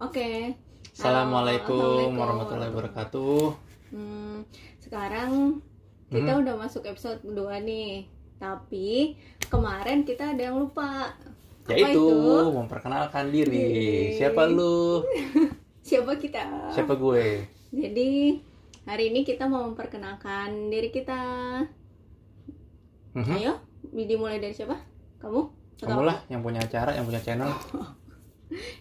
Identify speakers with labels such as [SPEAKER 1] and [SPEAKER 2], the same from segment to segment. [SPEAKER 1] Oke.
[SPEAKER 2] Assalamualaikum warahmatullahi wabarakatuh.
[SPEAKER 1] Hmm, sekarang kita
[SPEAKER 2] Hmm.
[SPEAKER 1] udah masuk episode 2 nih. Tapi kemarin kita ada yang lupa. Apa
[SPEAKER 2] Yaitu
[SPEAKER 1] itu?
[SPEAKER 2] memperkenalkan diri.
[SPEAKER 1] Diri.
[SPEAKER 2] Siapa lu?
[SPEAKER 1] Siapa kita?
[SPEAKER 2] Siapa gue?
[SPEAKER 1] Jadi hari ini kita mau memperkenalkan diri kita.
[SPEAKER 2] Mhm.
[SPEAKER 1] Ayo, dimulai dari siapa? Kamu? Atau
[SPEAKER 2] Kamu
[SPEAKER 1] aku?
[SPEAKER 2] lah yang punya acara, yang punya channel.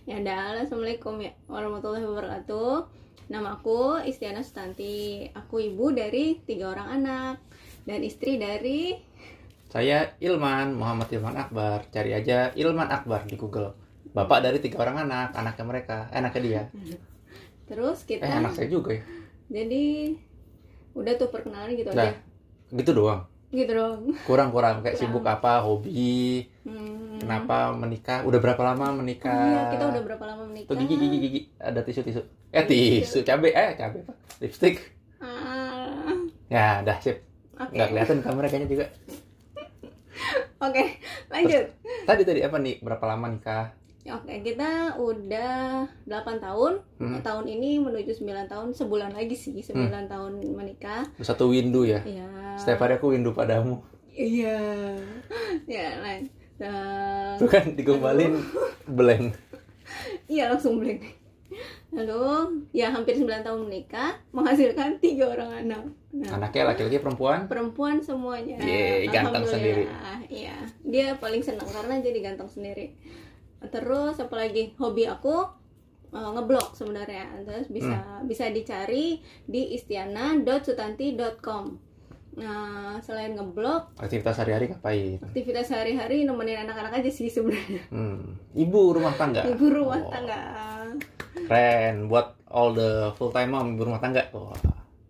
[SPEAKER 1] Ya dah, Assalamualaikum ya warahmatullahi wabarakatuh Nama aku Istiana Sutanti Aku ibu dari tiga orang anak Dan istri dari
[SPEAKER 2] Saya Ilman Muhammad Ilman Akbar. Cari aja Ilman Akbar di Google. Bapak dari tiga orang anak, anaknya mereka, eh, anaknya dia.
[SPEAKER 1] Terus
[SPEAKER 2] Eh,
[SPEAKER 1] kita
[SPEAKER 2] anak saya juga ya.
[SPEAKER 1] Jadi udah tuh perkenalan gitu
[SPEAKER 2] Dah.
[SPEAKER 1] aja
[SPEAKER 2] Gitu doang.
[SPEAKER 1] Gitu dong
[SPEAKER 2] Kurang-kurang kayak
[SPEAKER 1] Kurang.
[SPEAKER 2] sibuk apa, hobi,
[SPEAKER 1] Hmm.
[SPEAKER 2] kenapa menikah, udah berapa lama menikah?
[SPEAKER 1] Oh iya, kita udah berapa lama menikah
[SPEAKER 2] Tuh gigi gigi gigi ada tisu tisu. Eh
[SPEAKER 1] Iya.
[SPEAKER 2] tisu cabe eh cabe Pak. Lipstick.
[SPEAKER 1] Ah,
[SPEAKER 2] Ya, dah sip.
[SPEAKER 1] Oke,
[SPEAKER 2] Nggak kelihatan kamera kayaknya juga.
[SPEAKER 1] Oke, lanjut
[SPEAKER 2] Tadi tadi apa nih? Berapa lama nikah?
[SPEAKER 1] Oke, kita udah 8 tahun
[SPEAKER 2] Hmm,
[SPEAKER 1] Tahun ini menuju 9 tahun Sebulan lagi sih, 9 tahun menikah
[SPEAKER 2] satu windu ya.
[SPEAKER 1] Ya.
[SPEAKER 2] Setiap hari aku windu padamu.
[SPEAKER 1] Iya. Ya, lain. Nah,
[SPEAKER 2] Tuh kan digombalin blank.
[SPEAKER 1] iya langsung blank. Lalu, ya hampir 9 tahun menikah, menghasilkan tiga orang anak. Nah,
[SPEAKER 2] Anaknya laki-laki perempuan?
[SPEAKER 1] perempuan semuanya.
[SPEAKER 2] Yeay, Iya, ganteng sendiri.
[SPEAKER 1] Alhamdulillah. Iya, dia paling senang karena jadi ganteng sendiri. Terus apalagi hobi aku eh, ngeblog sebenarnya. Terus
[SPEAKER 2] Hmm.
[SPEAKER 1] bisa bisa dicari di istiana.sutanti.com. Nah, selain ngeblog,
[SPEAKER 2] Aktivitas sehari-hari ngapain?
[SPEAKER 1] aktivitas sehari-hari nemenin anak-anak aja sih sebenarnya.
[SPEAKER 2] Hmm, ibu rumah tangga.
[SPEAKER 1] Ibu rumah
[SPEAKER 2] Oh,
[SPEAKER 1] tangga.
[SPEAKER 2] Keren buat all the full time mom ibu rumah tangga. Wah,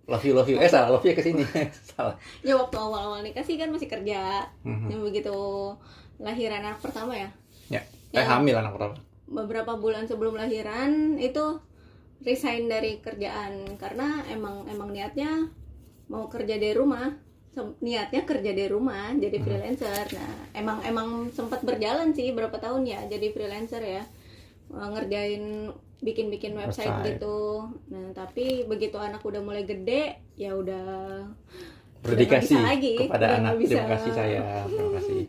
[SPEAKER 2] love you love you. Eh salah love you ke sini. salah.
[SPEAKER 1] Ya waktu awal-awal nikah sih kan masih kerja.
[SPEAKER 2] Mhm.
[SPEAKER 1] Ya begitu lahiran anak pertama ya.
[SPEAKER 2] Ya. Eh hamil anak pertama.
[SPEAKER 1] Beberapa bulan sebelum lahiran itu resign dari kerjaan karena emang emang niatnya mau kerja dari rumah. Sem- niatnya kerja dari rumah jadi
[SPEAKER 2] Hmm.
[SPEAKER 1] freelancer. Nah, emang emang sempat berjalan sih berapa tahun ya jadi freelancer ya. Eh, ngerjain bikin-bikin website,
[SPEAKER 2] Website.
[SPEAKER 1] gitu. Nah, tapi begitu anak udah mulai gede, ya udah Udah nggak
[SPEAKER 2] Berdedikasi
[SPEAKER 1] bisa lagi,
[SPEAKER 2] kepada
[SPEAKER 1] udah
[SPEAKER 2] anak.
[SPEAKER 1] nggak bisa.
[SPEAKER 2] Terima kasih sayang. Terima kasih.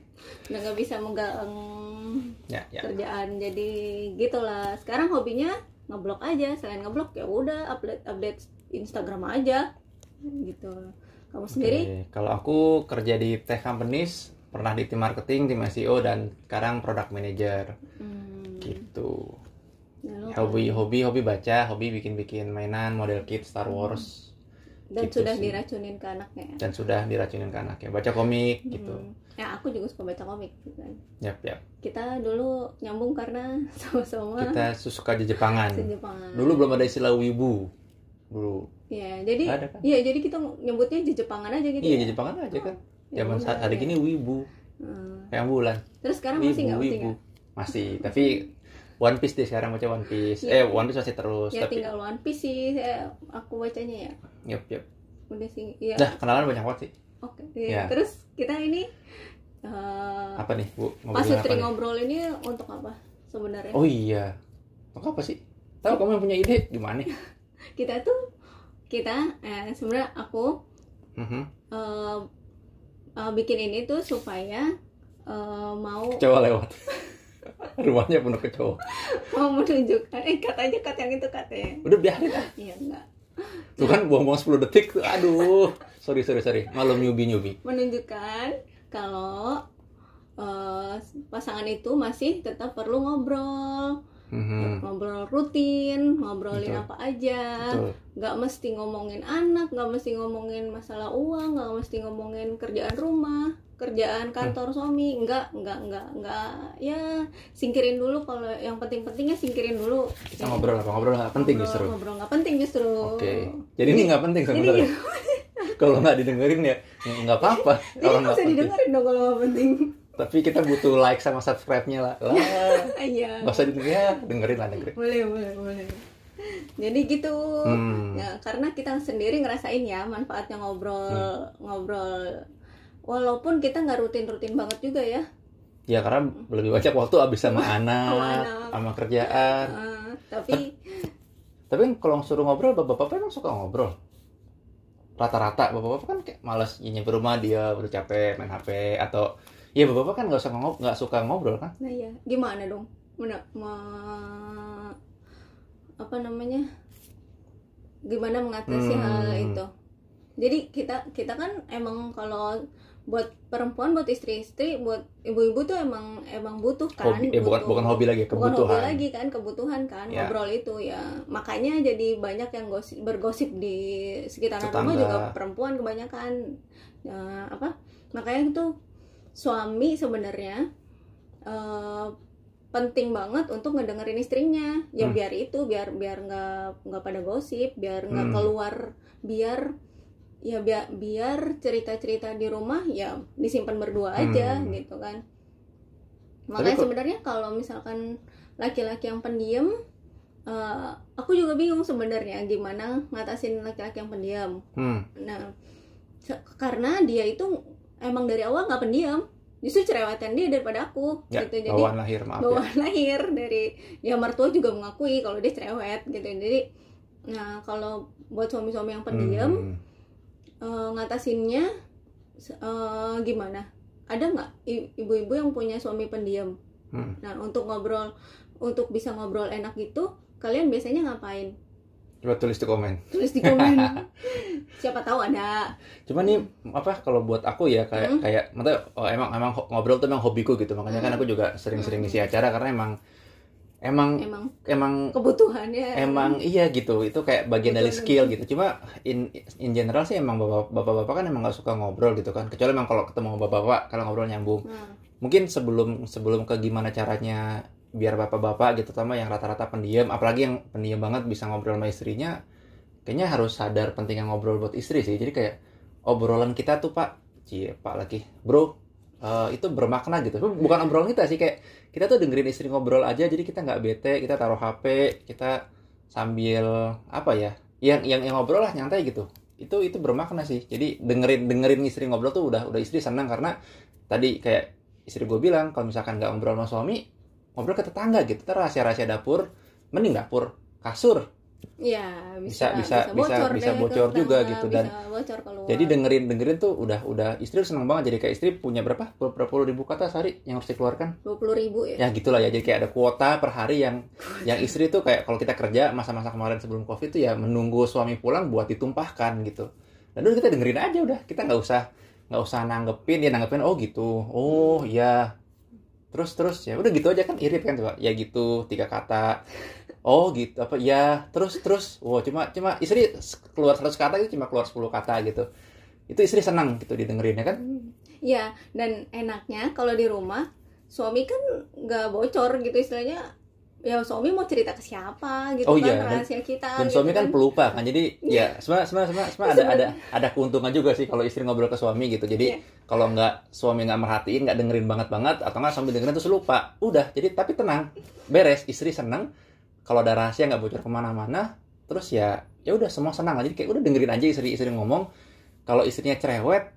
[SPEAKER 1] udah nggak bisa menggalang
[SPEAKER 2] Ya, ya.
[SPEAKER 1] kerjaan jadi gitulah sekarang hobinya ngeblok aja selain ngeblok ya udah update update Instagram aja gitu kamu sendiri
[SPEAKER 2] Oke, Kalau aku kerja di tech companies, pernah di tim marketing, tim SEO dan sekarang product manager
[SPEAKER 1] Hmm, Ya,
[SPEAKER 2] gitu.
[SPEAKER 1] lalu-
[SPEAKER 2] Hobi hobi hobi baca, hobi bikin-bikin mainan model kit Star Wars
[SPEAKER 1] dan
[SPEAKER 2] gitu
[SPEAKER 1] sudah
[SPEAKER 2] sih.
[SPEAKER 1] diracunin ke anaknya ya?
[SPEAKER 2] dan sudah diracunin ke anaknya. Baca komik gitu.
[SPEAKER 1] Hmm. ya aku juga suka baca komik gitu kan.
[SPEAKER 2] Yap, yap.
[SPEAKER 1] kita dulu nyambung karena sama-sama
[SPEAKER 2] Kita suka di Jepangan.
[SPEAKER 1] sejepangan
[SPEAKER 2] Dulu belum ada istilah wibu. Dulu.
[SPEAKER 1] ya jadi
[SPEAKER 2] Ada kan?
[SPEAKER 1] ya jadi kita nyebutnya jejepangan aja gitu
[SPEAKER 2] Iya,
[SPEAKER 1] ya?
[SPEAKER 2] di Jepangan aja kan.
[SPEAKER 1] Ya
[SPEAKER 2] Zaman
[SPEAKER 1] udah,
[SPEAKER 2] saat hari
[SPEAKER 1] ya.
[SPEAKER 2] gini wibu,
[SPEAKER 1] Hmm.
[SPEAKER 2] kayak bulan.
[SPEAKER 1] terus sekarang
[SPEAKER 2] Wibu,
[SPEAKER 1] masih nggak masih
[SPEAKER 2] wibu.
[SPEAKER 1] nggak?
[SPEAKER 2] Masih, tapi One Piece deh sekarang baca One Piece. Eh, One Piece masih terus,
[SPEAKER 1] Iya. ya
[SPEAKER 2] tapi
[SPEAKER 1] tinggal One Piece sih saya- aku bacanya ya
[SPEAKER 2] yap, yap.
[SPEAKER 1] udah sih ya
[SPEAKER 2] Dah, kenalan banyak banget sih.
[SPEAKER 1] oke
[SPEAKER 2] Ya.
[SPEAKER 1] terus kita ini eh
[SPEAKER 2] Apa nih, Bu? Ngobrolin
[SPEAKER 1] Mas
[SPEAKER 2] apa
[SPEAKER 1] Sutri
[SPEAKER 2] nih?
[SPEAKER 1] ngobrol ini untuk apa sebenarnya
[SPEAKER 2] Oh iya. Untuk apa sih? Tahu kamu yang punya ide gimana?
[SPEAKER 1] kita tuh kita eh, sebenarnya aku
[SPEAKER 2] Mhm.
[SPEAKER 1] eh, eh, bikin ini tuh supaya eh, mau
[SPEAKER 2] Kecoa lewat. Rumahnya penuh kecoa.
[SPEAKER 1] mau menunjukkan eh katanya kat yang itu katanya
[SPEAKER 2] Udah biarin ah.
[SPEAKER 1] iya enggak
[SPEAKER 2] Tuh kan buang-buang 10 detik tuh. Aduh. Sorry, sorry, sorry. Malam nyubi-nyubi.
[SPEAKER 1] menunjukkan kalau eh, pasangan itu masih tetap perlu ngobrol
[SPEAKER 2] Mhm.
[SPEAKER 1] ngobrol rutin, ngobrolin
[SPEAKER 2] Betul.
[SPEAKER 1] apa aja,
[SPEAKER 2] Betul.
[SPEAKER 1] nggak mesti ngomongin anak, nggak mesti ngomongin masalah uang, nggak mesti ngomongin kerjaan rumah,
[SPEAKER 2] Hmm.
[SPEAKER 1] kerjaan kantor suami, nggak nggak nggak nggak ya singkirin dulu kalau yang penting-pentingnya singkirin dulu.
[SPEAKER 2] Kita ngobrol apa? Ngobrol nggak penting
[SPEAKER 1] Ngobrol-
[SPEAKER 2] justru.
[SPEAKER 1] Ngobrol nggak penting justru.
[SPEAKER 2] Oke. Jadi ini nggak penting
[SPEAKER 1] Jadi
[SPEAKER 2] sebenarnya. Kalau nggak didengerin ya nggak apa-apa.
[SPEAKER 1] Jadi
[SPEAKER 2] Kalau
[SPEAKER 1] nggak
[SPEAKER 2] nggak
[SPEAKER 1] usah
[SPEAKER 2] penting.
[SPEAKER 1] didengerin dong kalau nggak penting.
[SPEAKER 2] Tapi kita butuh like sama subscribe-nya lah. Lah.
[SPEAKER 1] Iya.
[SPEAKER 2] Nggak usah didengerin ya, dengerin lah dengerin.
[SPEAKER 1] Boleh boleh boleh. Jadi gitu.
[SPEAKER 2] Hmm. Hmm.
[SPEAKER 1] Ya, karena kita sendiri ngerasain ya manfaatnya ngobrol ngobrol walaupun kita nggak rutin-rutin banget juga ya
[SPEAKER 2] ya karena lebih banyak waktu habis sama anak
[SPEAKER 1] anak.
[SPEAKER 2] sama kerjaan
[SPEAKER 1] Eh, tapi
[SPEAKER 2] tapi kalau suruh ngobrol bapak-bapak emang suka ngobrol rata-rata bapak-bapak kan kayak malas ya nyampe rumah dia udah capek main hp atau ya bapak-bapak kan nggak usah ngob nggak suka ngobrol kan
[SPEAKER 1] nah ya gimana dong Mena- me- apa namanya gimana mengatasi
[SPEAKER 2] Hmm.
[SPEAKER 1] hal itu jadi kita kita kan emang kalau buat perempuan buat istri-istri buat ibu-ibu tuh emang emang butuh kan
[SPEAKER 2] hobi eh, bukan
[SPEAKER 1] butuh-
[SPEAKER 2] bukan hobi lagi
[SPEAKER 1] bukan hobi
[SPEAKER 2] kebutuhan
[SPEAKER 1] lagi kan kebutuhan kan
[SPEAKER 2] Ya.
[SPEAKER 1] ngobrol itu ya makanya jadi banyak yang gosip, bergosip di sekitaran
[SPEAKER 2] Tetangga.
[SPEAKER 1] rumah juga perempuan kebanyakan Ya, apa makanya itu suami sebenarnya eh, penting banget untuk ngedengerin istrinya ya
[SPEAKER 2] Hmm.
[SPEAKER 1] biar itu biar biar nggak nggak pada gosip biar nggak
[SPEAKER 2] Hmm.
[SPEAKER 1] keluar biar ya biar biar cerita-cerita di rumah ya disimpan berdua aja
[SPEAKER 2] Hmm.
[SPEAKER 1] gitu kan makanya
[SPEAKER 2] kok-
[SPEAKER 1] sebenarnya kalau misalkan laki-laki yang pendiam eh, aku juga bingung sebenarnya gimana ngatasin laki-laki yang pendiam
[SPEAKER 2] hmm.
[SPEAKER 1] nah se- karena dia itu emang dari awal nggak pendiam justru cerewetan dia daripada aku
[SPEAKER 2] ya
[SPEAKER 1] gitu jadi
[SPEAKER 2] bawaan lahir maaf ya
[SPEAKER 1] bawaan lahir dari ya mertua juga mengakui kalau dia cerewet gitu jadi nah kalau buat suami-suami yang pendiam
[SPEAKER 2] Hmm.
[SPEAKER 1] eh, ngatasinnya se- eh, gimana ada nggak i- ibu-ibu yang punya suami pendiam
[SPEAKER 2] Hmm.
[SPEAKER 1] nah untuk ngobrol untuk bisa ngobrol enak gitu kalian biasanya ngapain
[SPEAKER 2] coba tulis di komen
[SPEAKER 1] tulis di komen siapa tahu ada
[SPEAKER 2] cuman nih apa kalau buat aku ya kayak
[SPEAKER 1] Hmm.
[SPEAKER 2] kayak maksudnya oh, emang emang ho- ngobrol tuh emang hobiku gitu makanya
[SPEAKER 1] Hmm.
[SPEAKER 2] kan aku juga sering-sering
[SPEAKER 1] Hmm. Iya.
[SPEAKER 2] ngisi acara karena emang emang
[SPEAKER 1] emang
[SPEAKER 2] emang
[SPEAKER 1] kebutuhannya
[SPEAKER 2] emang iya gitu itu kayak bagian dari
[SPEAKER 1] Betul,
[SPEAKER 2] skill gitu cuma in in general sih emang bapak- bapak-bapak kan emang nggak suka ngobrol gitu kan kecuali emang kalau ketemu sama bapak-bapak kalau ngobrol nyambung
[SPEAKER 1] Nah,
[SPEAKER 2] mungkin sebelum sebelum ke gimana caranya biar bapak-bapak gitu sama yang rata-rata pendiam apalagi yang pendiam banget bisa ngobrol sama istrinya kayaknya harus sadar pentingnya ngobrol buat istri sih jadi kayak obrolan kita tuh pak cie pak lagi bro eh, itu bermakna gitu bukan obrolan kita sih kayak kita tuh dengerin istri ngobrol aja jadi kita nggak bete kita taruh hp kita sambil apa ya yang yang, yang ngobrol lah nyantai gitu itu itu bermakna sih jadi dengerin dengerin istri ngobrol tuh udah udah istri senang karena tadi kayak istri gue bilang kalau misalkan nggak ngobrol sama suami ngobrol ke tetangga gitu Ntar rahasia-rahasia dapur mending dapur kasur
[SPEAKER 1] ya
[SPEAKER 2] Bisa-
[SPEAKER 1] bisa
[SPEAKER 2] bisa- bisa- bisa
[SPEAKER 1] deh ke
[SPEAKER 2] bocor juga
[SPEAKER 1] tetangga,
[SPEAKER 2] gitu, dan-
[SPEAKER 1] bisa bocor keluar.
[SPEAKER 2] jadi dengerin dengerin tuh udah udah istri seneng banget jadi kayak istri punya berapa berapa puluh ribu kata sehari yang harus dikeluarkan
[SPEAKER 1] 20 ribu ya.
[SPEAKER 2] ya gitulah ya jadi kayak ada kuota per hari yang yang istri tuh kayak kalau kita kerja masa-masa kemarin sebelum covid tuh ya menunggu suami pulang buat ditumpahkan gitu dan udah kita dengerin aja udah kita nggak usah nggak usah nanggepin dia nanggepin oh gitu oh iya terus terus ya udah gitu aja kan irit kan coba ya gitu tiga kata oh gitu apa ya terus terus wow cuma cuma istri keluar 100 kata itu cuma keluar 10 kata gitu itu istri senang gitu didengerin ya kan
[SPEAKER 1] Ya, dan enaknya kalau di rumah suami kan nggak bocor gitu istilahnya. Ya suami mau cerita ke siapa gitu
[SPEAKER 2] Oh,
[SPEAKER 1] kan
[SPEAKER 2] iya, dan-
[SPEAKER 1] rahasia kita.
[SPEAKER 2] dan
[SPEAKER 1] gitu
[SPEAKER 2] suami kan pelupa kan jadi ya sebenarnya sebenarnya sebenarnya- sebenarnya ada ada ada keuntungan juga sih kalau istri ngobrol ke suami gitu jadi
[SPEAKER 1] Iya.
[SPEAKER 2] kalau nggak suami nggak merhatiin nggak dengerin banget banget atau nggak suami dengerin terus lupa udah jadi tapi tenang beres istri senang kalau ada rahasia nggak bocor kemana-mana terus ya ya udah semua senang jadi kayak udah dengerin aja istri-istri ngomong kalau istrinya cerewet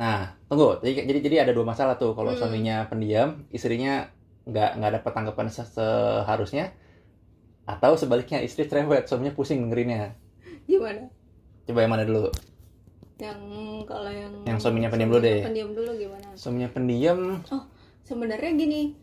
[SPEAKER 2] nah tunggu jadi jadi jadi ada dua masalah tuh kalau
[SPEAKER 1] Hmm.
[SPEAKER 2] suaminya pendiam istrinya nggak nggak dapat tanggapan se- seharusnya atau sebaliknya istri cerewet suaminya pusing dengerinnya
[SPEAKER 1] Gimana?
[SPEAKER 2] coba yang mana dulu
[SPEAKER 1] Yang kalau yang
[SPEAKER 2] Yang suaminya pendiam dulu
[SPEAKER 1] suaminya
[SPEAKER 2] deh.
[SPEAKER 1] Pendiam dulu gimana?
[SPEAKER 2] suaminya pendiam
[SPEAKER 1] Sebenarnya gini,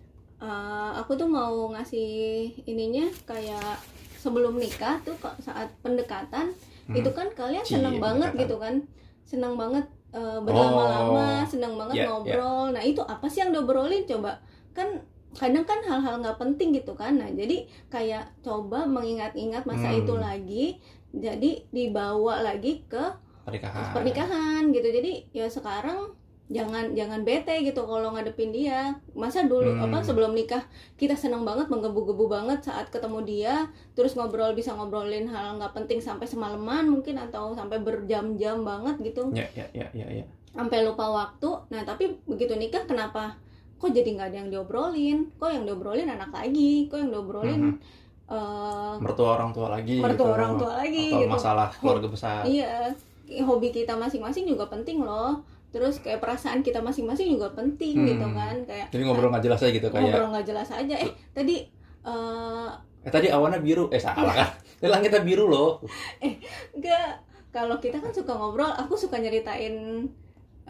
[SPEAKER 1] eh, aku tuh mau ngasih ininya kayak sebelum nikah tuh kok saat pendekatan
[SPEAKER 2] hmm,
[SPEAKER 1] itu kan kalian
[SPEAKER 2] Cie,
[SPEAKER 1] senang banget
[SPEAKER 2] pendekatan.
[SPEAKER 1] gitu kan senang banget eh, berlama-lama senang
[SPEAKER 2] Ya,
[SPEAKER 1] banget
[SPEAKER 2] ya.
[SPEAKER 1] ngobrol nah itu apa sih yang diobrolin coba kan kadang kan hal-hal nggak penting gitu kan nah jadi kayak coba mengingat-ingat masa
[SPEAKER 2] Hmm.
[SPEAKER 1] itu lagi jadi dibawa lagi ke
[SPEAKER 2] pernikahan
[SPEAKER 1] pernikahan gitu jadi ya sekarang jangan jangan bete gitu kalau ngadepin dia masa dulu
[SPEAKER 2] Hmm.
[SPEAKER 1] apa sebelum nikah kita senang banget menggebu-gebu banget saat ketemu dia terus ngobrol bisa ngobrolin hal nggak penting sampai semalaman mungkin atau sampai berjam-jam banget gitu
[SPEAKER 2] ya ya ya ya, ya.
[SPEAKER 1] sampai lupa waktu nah tapi begitu nikah kenapa kok jadi nggak ada yang diobrolin kok yang diobrolin anak lagi kok yang diobrolin eh,
[SPEAKER 2] mertua orang tua lagi
[SPEAKER 1] mertua
[SPEAKER 2] Hmm. gitu.
[SPEAKER 1] orang tua lagi
[SPEAKER 2] atau
[SPEAKER 1] gitu
[SPEAKER 2] masalah keluarga besar
[SPEAKER 1] Iya, hobi kita masing-masing juga penting loh. terus kayak perasaan kita masing-masing juga penting
[SPEAKER 2] Hmm.
[SPEAKER 1] gitu kan kayak
[SPEAKER 2] Jadi ngobrol nggak jelas aja gitu kayak.
[SPEAKER 1] ngobrol nggak jelas aja eh tadi eh
[SPEAKER 2] Eh tadi awannya biru, eh salah
[SPEAKER 1] Iya.
[SPEAKER 2] kan? Tadi langitnya biru loh.
[SPEAKER 1] nggak kalau kita kan suka ngobrol aku suka nyeritain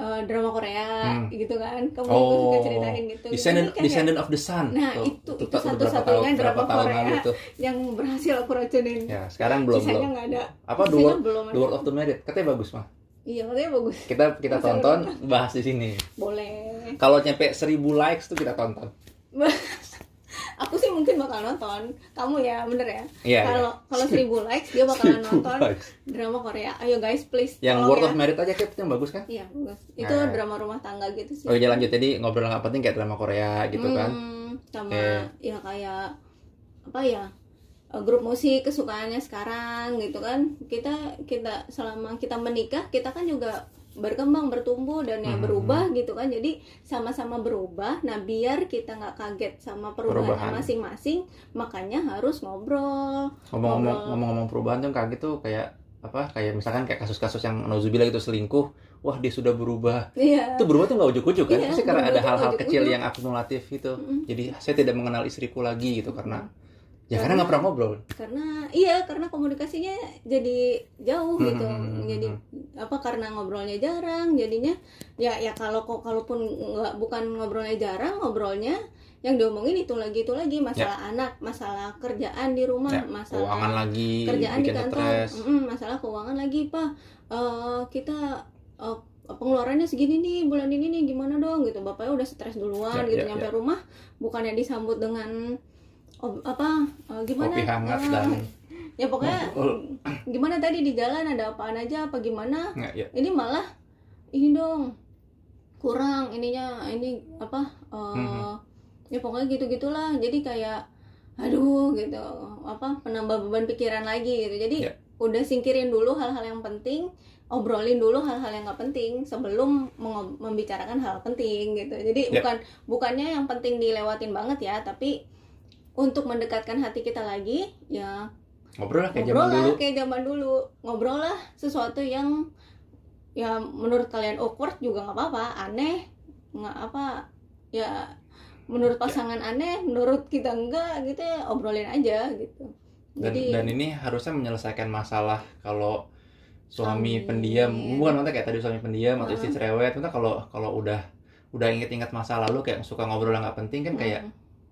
[SPEAKER 1] eh, drama Korea
[SPEAKER 2] Hmm.
[SPEAKER 1] gitu kan kamu
[SPEAKER 2] Oh.
[SPEAKER 1] juga suka ceritain gitu
[SPEAKER 2] Descendant,
[SPEAKER 1] Jadi kayak
[SPEAKER 2] Descendant of the Sun.
[SPEAKER 1] Nah,
[SPEAKER 2] Tuh,
[SPEAKER 1] itu- itu
[SPEAKER 2] tak
[SPEAKER 1] satu-satunya drama
[SPEAKER 2] beberapa tahun- beberapa tahun
[SPEAKER 1] Korea.
[SPEAKER 2] lalu tuh.
[SPEAKER 1] yang berhasil aku racunin
[SPEAKER 2] Ya, sekarang belum
[SPEAKER 1] sisanya
[SPEAKER 2] belum.
[SPEAKER 1] nggak ada
[SPEAKER 2] Apa The
[SPEAKER 1] Sisanya
[SPEAKER 2] World,
[SPEAKER 1] belum
[SPEAKER 2] The World of the Married? Katanya bagus mah.
[SPEAKER 1] iya makanya bagus
[SPEAKER 2] Kita kita
[SPEAKER 1] Masa
[SPEAKER 2] tonton, bahas di sini.
[SPEAKER 1] boleh
[SPEAKER 2] Kalau nyampe 1000 likes tuh kita tonton.
[SPEAKER 1] aku sih mungkin bakal nonton kamu ya bener ya
[SPEAKER 2] Iya.
[SPEAKER 1] kalau kalau seribu likes dia bakalan nonton drama Korea ayo guys please
[SPEAKER 2] Yang
[SPEAKER 1] tolong
[SPEAKER 2] World
[SPEAKER 1] ya.
[SPEAKER 2] of Merit aja kayak yang bagus kan?
[SPEAKER 1] iya bagus itu
[SPEAKER 2] Nah.
[SPEAKER 1] drama rumah tangga gitu sih
[SPEAKER 2] Oke, lanjut. Jadi ngobrol nggak penting kayak drama Korea gitu kan.
[SPEAKER 1] Hmm, sama
[SPEAKER 2] Kayak-
[SPEAKER 1] ya kayak apa ya eh, grup musik kesukaannya sekarang gitu kan kita kita selama kita menikah kita kan juga berkembang bertumbuh dan ya
[SPEAKER 2] Hmm.
[SPEAKER 1] berubah gitu kan jadi sama-sama berubah nah biar kita nggak kaget sama perubahan
[SPEAKER 2] Perubahan.
[SPEAKER 1] masing-masing makanya harus ngobrol
[SPEAKER 2] Ngomong-ngomong
[SPEAKER 1] Ngobrol.
[SPEAKER 2] ngomong-ngomong perubahan tuh kaget tuh kayak apa? Kayak misalkan kayak kasus-kasus yang Nauzubillah gitu selingkuh. Wah, dia sudah berubah.
[SPEAKER 1] iya
[SPEAKER 2] Itu berubah tuh nggak ujuk-ujuk kan?
[SPEAKER 1] Iya,
[SPEAKER 2] Pasti karena
[SPEAKER 1] berubah
[SPEAKER 2] ada
[SPEAKER 1] tuh
[SPEAKER 2] hal-hal
[SPEAKER 1] nggak
[SPEAKER 2] kecil
[SPEAKER 1] ujuk-ujuk.
[SPEAKER 2] yang akumulatif gitu.
[SPEAKER 1] Mm-mm.
[SPEAKER 2] Jadi saya tidak mengenal istriku lagi gitu karena ya
[SPEAKER 1] Karena-
[SPEAKER 2] karena nggak pernah ngobrol.
[SPEAKER 1] karena iya karena komunikasinya jadi jauh
[SPEAKER 2] Hmm,
[SPEAKER 1] gitu
[SPEAKER 2] hmm, hmm,
[SPEAKER 1] jadi apa karena ngobrolnya jarang jadinya ya ya kalau kok kalaupun nggak bukan ngobrolnya jarang ngobrolnya yang diomongin itu lagi itu lagi masalah anak masalah kerjaan di rumah
[SPEAKER 2] Ya,
[SPEAKER 1] masalah
[SPEAKER 2] Keuangan lagi,
[SPEAKER 1] kerjaan di
[SPEAKER 2] bikin
[SPEAKER 1] kantor
[SPEAKER 2] stres.
[SPEAKER 1] Mm, masalah keuangan lagi pak Eh, kita eh, pengeluarannya segini nih bulan ini nih gimana dong gitu bapaknya udah stres duluan
[SPEAKER 2] Ya,
[SPEAKER 1] gitu
[SPEAKER 2] ya,
[SPEAKER 1] nyampe rumah bukannya disambut dengan ob- apa eh, gimana
[SPEAKER 2] Kopi hangat
[SPEAKER 1] Ah,
[SPEAKER 2] dan Hmm, oh,
[SPEAKER 1] ya pokoknya
[SPEAKER 2] ngobrol.
[SPEAKER 1] gimana tadi di jalan ada apaan aja apa gimana
[SPEAKER 2] Ya, ya.
[SPEAKER 1] ini malah ini dong kurang ininya ini apa eh,
[SPEAKER 2] Mhm.
[SPEAKER 1] ya pokoknya gitu gitulah jadi kayak aduh gitu apa penambah beban pikiran lagi gitu jadi
[SPEAKER 2] Ya.
[SPEAKER 1] udah singkirin dulu hal-hal yang penting obrolin dulu hal-hal yang nggak penting sebelum mengob- membicarakan hal penting gitu jadi
[SPEAKER 2] Ya.
[SPEAKER 1] bukan bukannya yang penting dilewatin banget ya tapi untuk mendekatkan hati kita lagi ya
[SPEAKER 2] Ngobrol lah kayak zaman
[SPEAKER 1] ngobrol lah
[SPEAKER 2] dulu.
[SPEAKER 1] kayak zaman dulu ngobrol lah sesuatu yang ya menurut kalian awkward juga nggak apa-apa aneh nggak apa ya menurut pasangan aneh menurut kita enggak gitu ya obrolin aja gitu
[SPEAKER 2] Dan,
[SPEAKER 1] jadi
[SPEAKER 2] dan ini harusnya menyelesaikan masalah kalau suami
[SPEAKER 1] Suami. iya.
[SPEAKER 2] pendiam bukan nanti kayak tadi suami pendiam atau
[SPEAKER 1] Ah.
[SPEAKER 2] istri cerewet nanti kalau kalau udah udah inget-inget masa lalu kayak suka ngobrol yang nggak penting kan kayak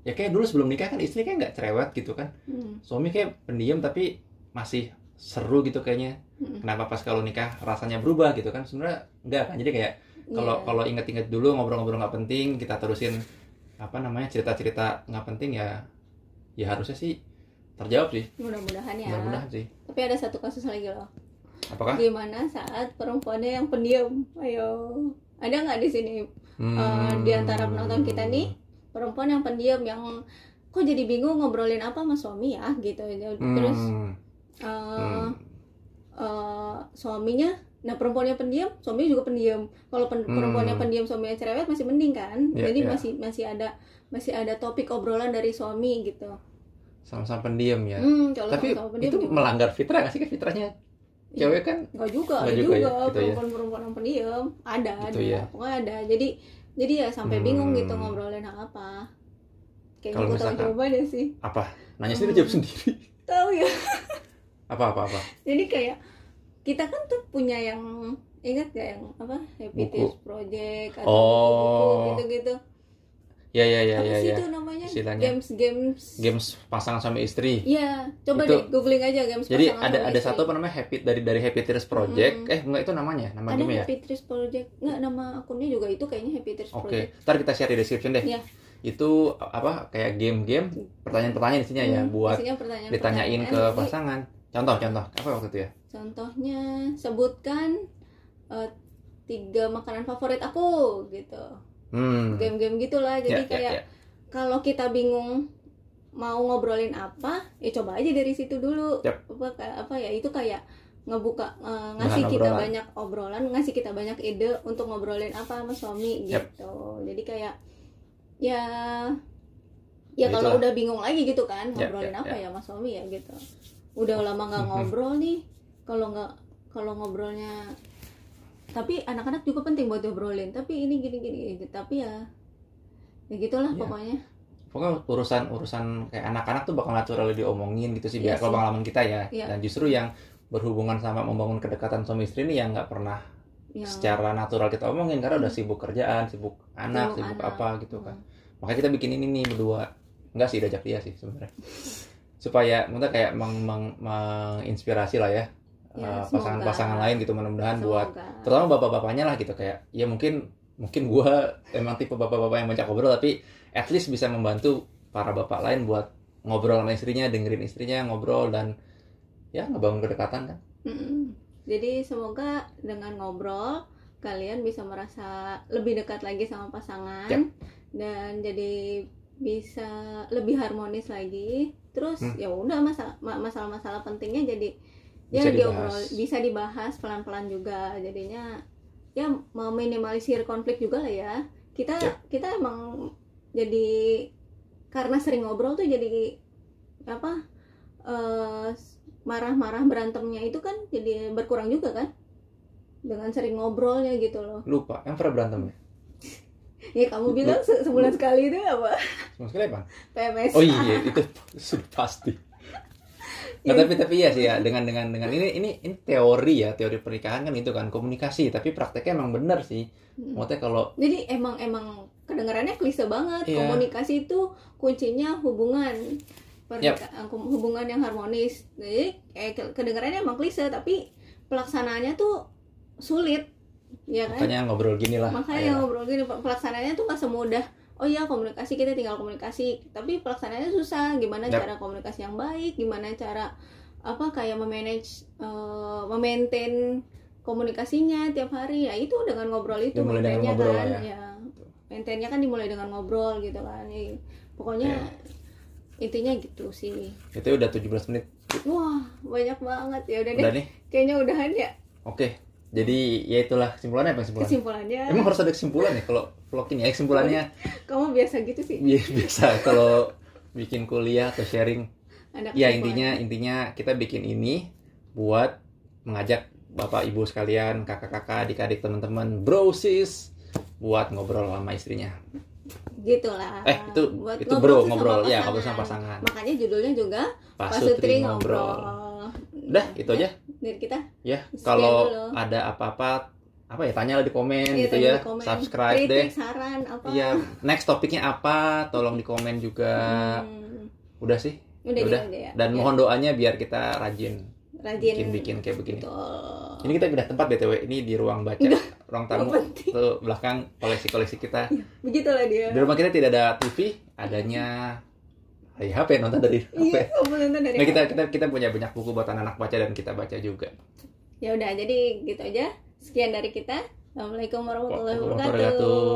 [SPEAKER 2] ya kayak dulu sebelum nikah kan istri kayak nggak cerewet gitu kan
[SPEAKER 1] Hmm,
[SPEAKER 2] suami kayak pendiam tapi masih seru gitu kayaknya
[SPEAKER 1] Mm.
[SPEAKER 2] kenapa pas kalau nikah rasanya berubah gitu kan sebenarnya enggak kan jadi kayak kalau
[SPEAKER 1] iya.
[SPEAKER 2] kalau inget-inget dulu ngobrol-ngobrol nggak penting kita terusin apa namanya cerita-cerita nggak penting ya ya harusnya sih terjawab sih
[SPEAKER 1] mudah-mudahan ya
[SPEAKER 2] mudah-mudahan Ah. sih
[SPEAKER 1] tapi ada satu kasus lagi loh
[SPEAKER 2] apakah
[SPEAKER 1] gimana saat perempuannya yang pendiam ayo ada nggak di sini
[SPEAKER 2] Hmm.
[SPEAKER 1] Eh, di antara penonton kita nih, perempuan yang pendiam yang kok jadi bingung ngobrolin apa sama suami ya gitu
[SPEAKER 2] Hmm.
[SPEAKER 1] terus eh,
[SPEAKER 2] Hmm.
[SPEAKER 1] eh, suaminya nah perempuannya pendiam suaminya juga pendiam kalau pen-
[SPEAKER 2] Hmm.
[SPEAKER 1] perempuannya pendiam suaminya cerewet masih mending kan
[SPEAKER 2] Iya,
[SPEAKER 1] jadi
[SPEAKER 2] iya.
[SPEAKER 1] masih masih ada masih ada topik obrolan dari suami gitu
[SPEAKER 2] sama-sama pendiam ya
[SPEAKER 1] hmm, kalau
[SPEAKER 2] tapi
[SPEAKER 1] sama-sama pendiam Iya.
[SPEAKER 2] itu
[SPEAKER 1] gimana?
[SPEAKER 2] melanggar fitrah nggak sih kan fitrahnya cewek kan
[SPEAKER 1] Enggak juga,
[SPEAKER 2] Nggak
[SPEAKER 1] ada
[SPEAKER 2] juga
[SPEAKER 1] juga,
[SPEAKER 2] ya, gitu ya.
[SPEAKER 1] perempuan-perempuan yang pendiam, ada,
[SPEAKER 2] Gitu
[SPEAKER 1] ada,
[SPEAKER 2] ya.
[SPEAKER 1] pokoknya ada. Jadi jadi ya sampai
[SPEAKER 2] Hmm.
[SPEAKER 1] bingung gitu ngobrolin hal apa. Kayaknya
[SPEAKER 2] Kalau
[SPEAKER 1] gue tahu
[SPEAKER 2] misalkan-
[SPEAKER 1] jawabannya sih.
[SPEAKER 2] apa nanya
[SPEAKER 1] Hmm.
[SPEAKER 2] sendiri jawab sendiri
[SPEAKER 1] Tahu ya.
[SPEAKER 2] apa apa apa
[SPEAKER 1] Jadi kayak kita kan tuh punya yang ingat gak yang apa Happy
[SPEAKER 2] Buku.
[SPEAKER 1] Tips Project atau
[SPEAKER 2] Oh.
[SPEAKER 1] buku-buku gitu-gitu.
[SPEAKER 2] ya ya
[SPEAKER 1] apa
[SPEAKER 2] ya ya,
[SPEAKER 1] sih
[SPEAKER 2] ya.
[SPEAKER 1] itu namanya?
[SPEAKER 2] Istilahnya.
[SPEAKER 1] Games games.
[SPEAKER 2] games pasangan suami istri
[SPEAKER 1] Iya, coba deh
[SPEAKER 2] Itu-
[SPEAKER 1] googling aja games
[SPEAKER 2] jadi
[SPEAKER 1] pasangan
[SPEAKER 2] ada
[SPEAKER 1] sama
[SPEAKER 2] ada
[SPEAKER 1] istri.
[SPEAKER 2] satu apa namanya happy dari dari happy tears project
[SPEAKER 1] Hmm.
[SPEAKER 2] eh enggak itu namanya nama
[SPEAKER 1] ada
[SPEAKER 2] game ya
[SPEAKER 1] Happy Tips Project. Enggak nama akunnya juga itu kayaknya Happy Tips
[SPEAKER 2] oke
[SPEAKER 1] Project.
[SPEAKER 2] ntar kita share di description deh
[SPEAKER 1] Iya.
[SPEAKER 2] itu apa kayak game-game pertanyaan-pertanyaan isinya ya
[SPEAKER 1] Hmm,
[SPEAKER 2] buat
[SPEAKER 1] isinya pertanyaan-
[SPEAKER 2] ditanyain ke
[SPEAKER 1] pertanyaan. Jadi,
[SPEAKER 2] pasangan contoh contoh apa waktu itu ya
[SPEAKER 1] Contohnya sebutkan eh, tiga makanan favorit aku gitu.
[SPEAKER 2] hmm
[SPEAKER 1] Game-game gitulah.
[SPEAKER 2] Ya,
[SPEAKER 1] Jadi
[SPEAKER 2] ya,
[SPEAKER 1] kayak
[SPEAKER 2] ya.
[SPEAKER 1] kalau kita bingung mau ngobrolin apa, ya coba aja dari situ dulu.
[SPEAKER 2] Yap.
[SPEAKER 1] Apa kayak- apa ya itu kayak ngebuka eh, ngasih
[SPEAKER 2] Bahan
[SPEAKER 1] kita
[SPEAKER 2] obrolan.
[SPEAKER 1] banyak obrolan, ngasih kita banyak ide untuk ngobrolin apa sama suami
[SPEAKER 2] Yap.
[SPEAKER 1] gitu. Jadi kayak ya ya
[SPEAKER 2] Ya,
[SPEAKER 1] kalau
[SPEAKER 2] itulah.
[SPEAKER 1] udah bingung lagi gitu kan
[SPEAKER 2] Yap,
[SPEAKER 1] ngobrolin
[SPEAKER 2] yap,
[SPEAKER 1] apa ya sama suami ya gitu. Udah lama nggak ngobrol nih. Kalau nggak kalau ngobrolnya tapi anak-anak juga penting buat diobrolin tapi ini gini gini, gini. tapi ya ya gitulah
[SPEAKER 2] Iya.
[SPEAKER 1] pokoknya
[SPEAKER 2] pokoknya urusan urusan kayak anak-anak tuh bakal natural diomongin gitu sih
[SPEAKER 1] Iya
[SPEAKER 2] biar kalau
[SPEAKER 1] sih.
[SPEAKER 2] pengalaman kita ya
[SPEAKER 1] Iya.
[SPEAKER 2] dan justru yang berhubungan sama membangun kedekatan suami istri ini yang nggak pernah
[SPEAKER 1] ya
[SPEAKER 2] secara natural kita omongin karena udah sibuk kerjaan sibuk anak
[SPEAKER 1] Sibuk
[SPEAKER 2] sibuk
[SPEAKER 1] anak.
[SPEAKER 2] apa gitu kan makanya kita bikin ini nih berdua enggak sih diajak dia sih sebenarnya supaya maksudnya kayak meng- meng- menginspirasi lah ya
[SPEAKER 1] Ya,
[SPEAKER 2] eh, pasangan-pasangan
[SPEAKER 1] semoga.
[SPEAKER 2] lain gitu mudah-mudahan buat
[SPEAKER 1] Semoga.
[SPEAKER 2] terutama bapak-bapaknya lah gitu kayak ya mungkin mungkin gua emang tipe bapak-bapak yang banyak ngobrol tapi at least bisa membantu para bapak lain buat ngobrol sama istrinya dengerin istrinya ngobrol dan ya ngebangun kedekatan kan
[SPEAKER 1] Mm-mm. Jadi semoga dengan ngobrol kalian bisa merasa lebih dekat lagi sama pasangan
[SPEAKER 2] Yap.
[SPEAKER 1] dan jadi bisa lebih harmonis lagi. Terus
[SPEAKER 2] Hmm.
[SPEAKER 1] ya udah masa- ma- masalah-masalah pentingnya jadi ya
[SPEAKER 2] Bisa
[SPEAKER 1] diobrol
[SPEAKER 2] dibahas.
[SPEAKER 1] bisa dibahas pelan-pelan juga. Jadinya ya meminimalisir konflik juga lah ya. Kita
[SPEAKER 2] Yap.
[SPEAKER 1] kita emang jadi karena sering ngobrol tuh jadi apa eh, marah-marah berantemnya itu kan jadi berkurang juga kan dengan sering ngobrolnya gitu loh
[SPEAKER 2] lupa yang pernah berantem ya
[SPEAKER 1] ya kamu bilang se- sebulan sekali itu ya, apa
[SPEAKER 2] sama sekali apa
[SPEAKER 1] PMS
[SPEAKER 2] Oh iya itu sudah pasti. Nah, tapi tapi ya sih ya dengan dengan dengan ini ini ini teori ya teori pernikahan kan itu kan komunikasi tapi prakteknya emang bener sih.
[SPEAKER 1] Mm.
[SPEAKER 2] Maksudnya kalau
[SPEAKER 1] jadi emang emang kedengarannya klise banget
[SPEAKER 2] Iya.
[SPEAKER 1] komunikasi itu kuncinya hubungan Pernika- kom- hubungan yang harmonis jadi eh, ke- kedengarannya emang klise tapi pelaksanaannya tuh sulit ya kan
[SPEAKER 2] makanya ngobrol gini lah.
[SPEAKER 1] makanya
[SPEAKER 2] ayolah.
[SPEAKER 1] ngobrol gini pelaksanaannya tuh nggak semudah oh iya komunikasi kita tinggal komunikasi tapi pelaksanaannya susah gimana
[SPEAKER 2] Yap.
[SPEAKER 1] cara komunikasi yang baik gimana cara apa kayak memanage eh, memaintain komunikasinya tiap hari ya itu dengan ngobrol itu
[SPEAKER 2] Dimulai dengan
[SPEAKER 1] maintainnya
[SPEAKER 2] ngobrol
[SPEAKER 1] kan
[SPEAKER 2] lah
[SPEAKER 1] ya maintainnya kan dimulai dengan ngobrol gitu kan Ya, pokoknya
[SPEAKER 2] Iya.
[SPEAKER 1] intinya gitu sih
[SPEAKER 2] itu udah 17 menit
[SPEAKER 1] wah banyak banget ya udah deh
[SPEAKER 2] udah nih.
[SPEAKER 1] kayaknya udahan ya
[SPEAKER 2] Oke. Jadi ya itulah kesimpulannya apa kesimpulan?
[SPEAKER 1] kesimpulannya
[SPEAKER 2] Emang harus ada kesimpulan ya kalau vlog ini ya kesimpulannya
[SPEAKER 1] kamu biasa gitu sih
[SPEAKER 2] bi- biasa kalau bikin kuliah atau sharing
[SPEAKER 1] anak
[SPEAKER 2] Ya
[SPEAKER 1] perempuan.
[SPEAKER 2] intinya intinya kita bikin ini buat mengajak bapak ibu sekalian, kakak-kakak, adik-adik, teman-teman, bro sis buat ngobrol sama istrinya.
[SPEAKER 1] gitulah
[SPEAKER 2] Eh itu
[SPEAKER 1] Buat
[SPEAKER 2] itu bro
[SPEAKER 1] sesama
[SPEAKER 2] ngobrol, ya
[SPEAKER 1] pasangan.
[SPEAKER 2] ngobrol sama pasangan.
[SPEAKER 1] makanya judulnya juga
[SPEAKER 2] Pasutri ngobrol. Udah itu aja
[SPEAKER 1] dari kita
[SPEAKER 2] ya.
[SPEAKER 1] Sekian
[SPEAKER 2] Kalau
[SPEAKER 1] dulu.
[SPEAKER 2] ada apa-apa apa ya tanya di komen
[SPEAKER 1] Iya,
[SPEAKER 2] gitu
[SPEAKER 1] tanya
[SPEAKER 2] ya.
[SPEAKER 1] di komen.
[SPEAKER 2] Subscribe
[SPEAKER 1] kritik
[SPEAKER 2] deh.
[SPEAKER 1] saran apa
[SPEAKER 2] Iya, next topiknya apa? Tolong di komen juga.
[SPEAKER 1] Hmm.
[SPEAKER 2] Udah sih.
[SPEAKER 1] udah,
[SPEAKER 2] udah.
[SPEAKER 1] gitu ya Ya,
[SPEAKER 2] Dan mohon doanya biar kita rajin
[SPEAKER 1] rajin
[SPEAKER 2] bikin-bikin kayak begini.
[SPEAKER 1] Betul.
[SPEAKER 2] Ini kita pindah tempat BTW, ini di ruang baca,
[SPEAKER 1] Nggak
[SPEAKER 2] ruang tamu
[SPEAKER 1] penting.
[SPEAKER 2] itu belakang koleksi-koleksi kita.
[SPEAKER 1] begitulah dia
[SPEAKER 2] Di rumah kita tidak ada TV, adanya dari HP nonton dari
[SPEAKER 1] iya
[SPEAKER 2] HP.
[SPEAKER 1] kamu nonton dari
[SPEAKER 2] Nah, kita kita kita punya banyak buku buat anak-anak baca dan kita baca juga.
[SPEAKER 1] ya udah jadi gitu aja sekian dari kita assalamualaikum warahmatullahi
[SPEAKER 2] Warahmatullahi
[SPEAKER 1] wabarakatuh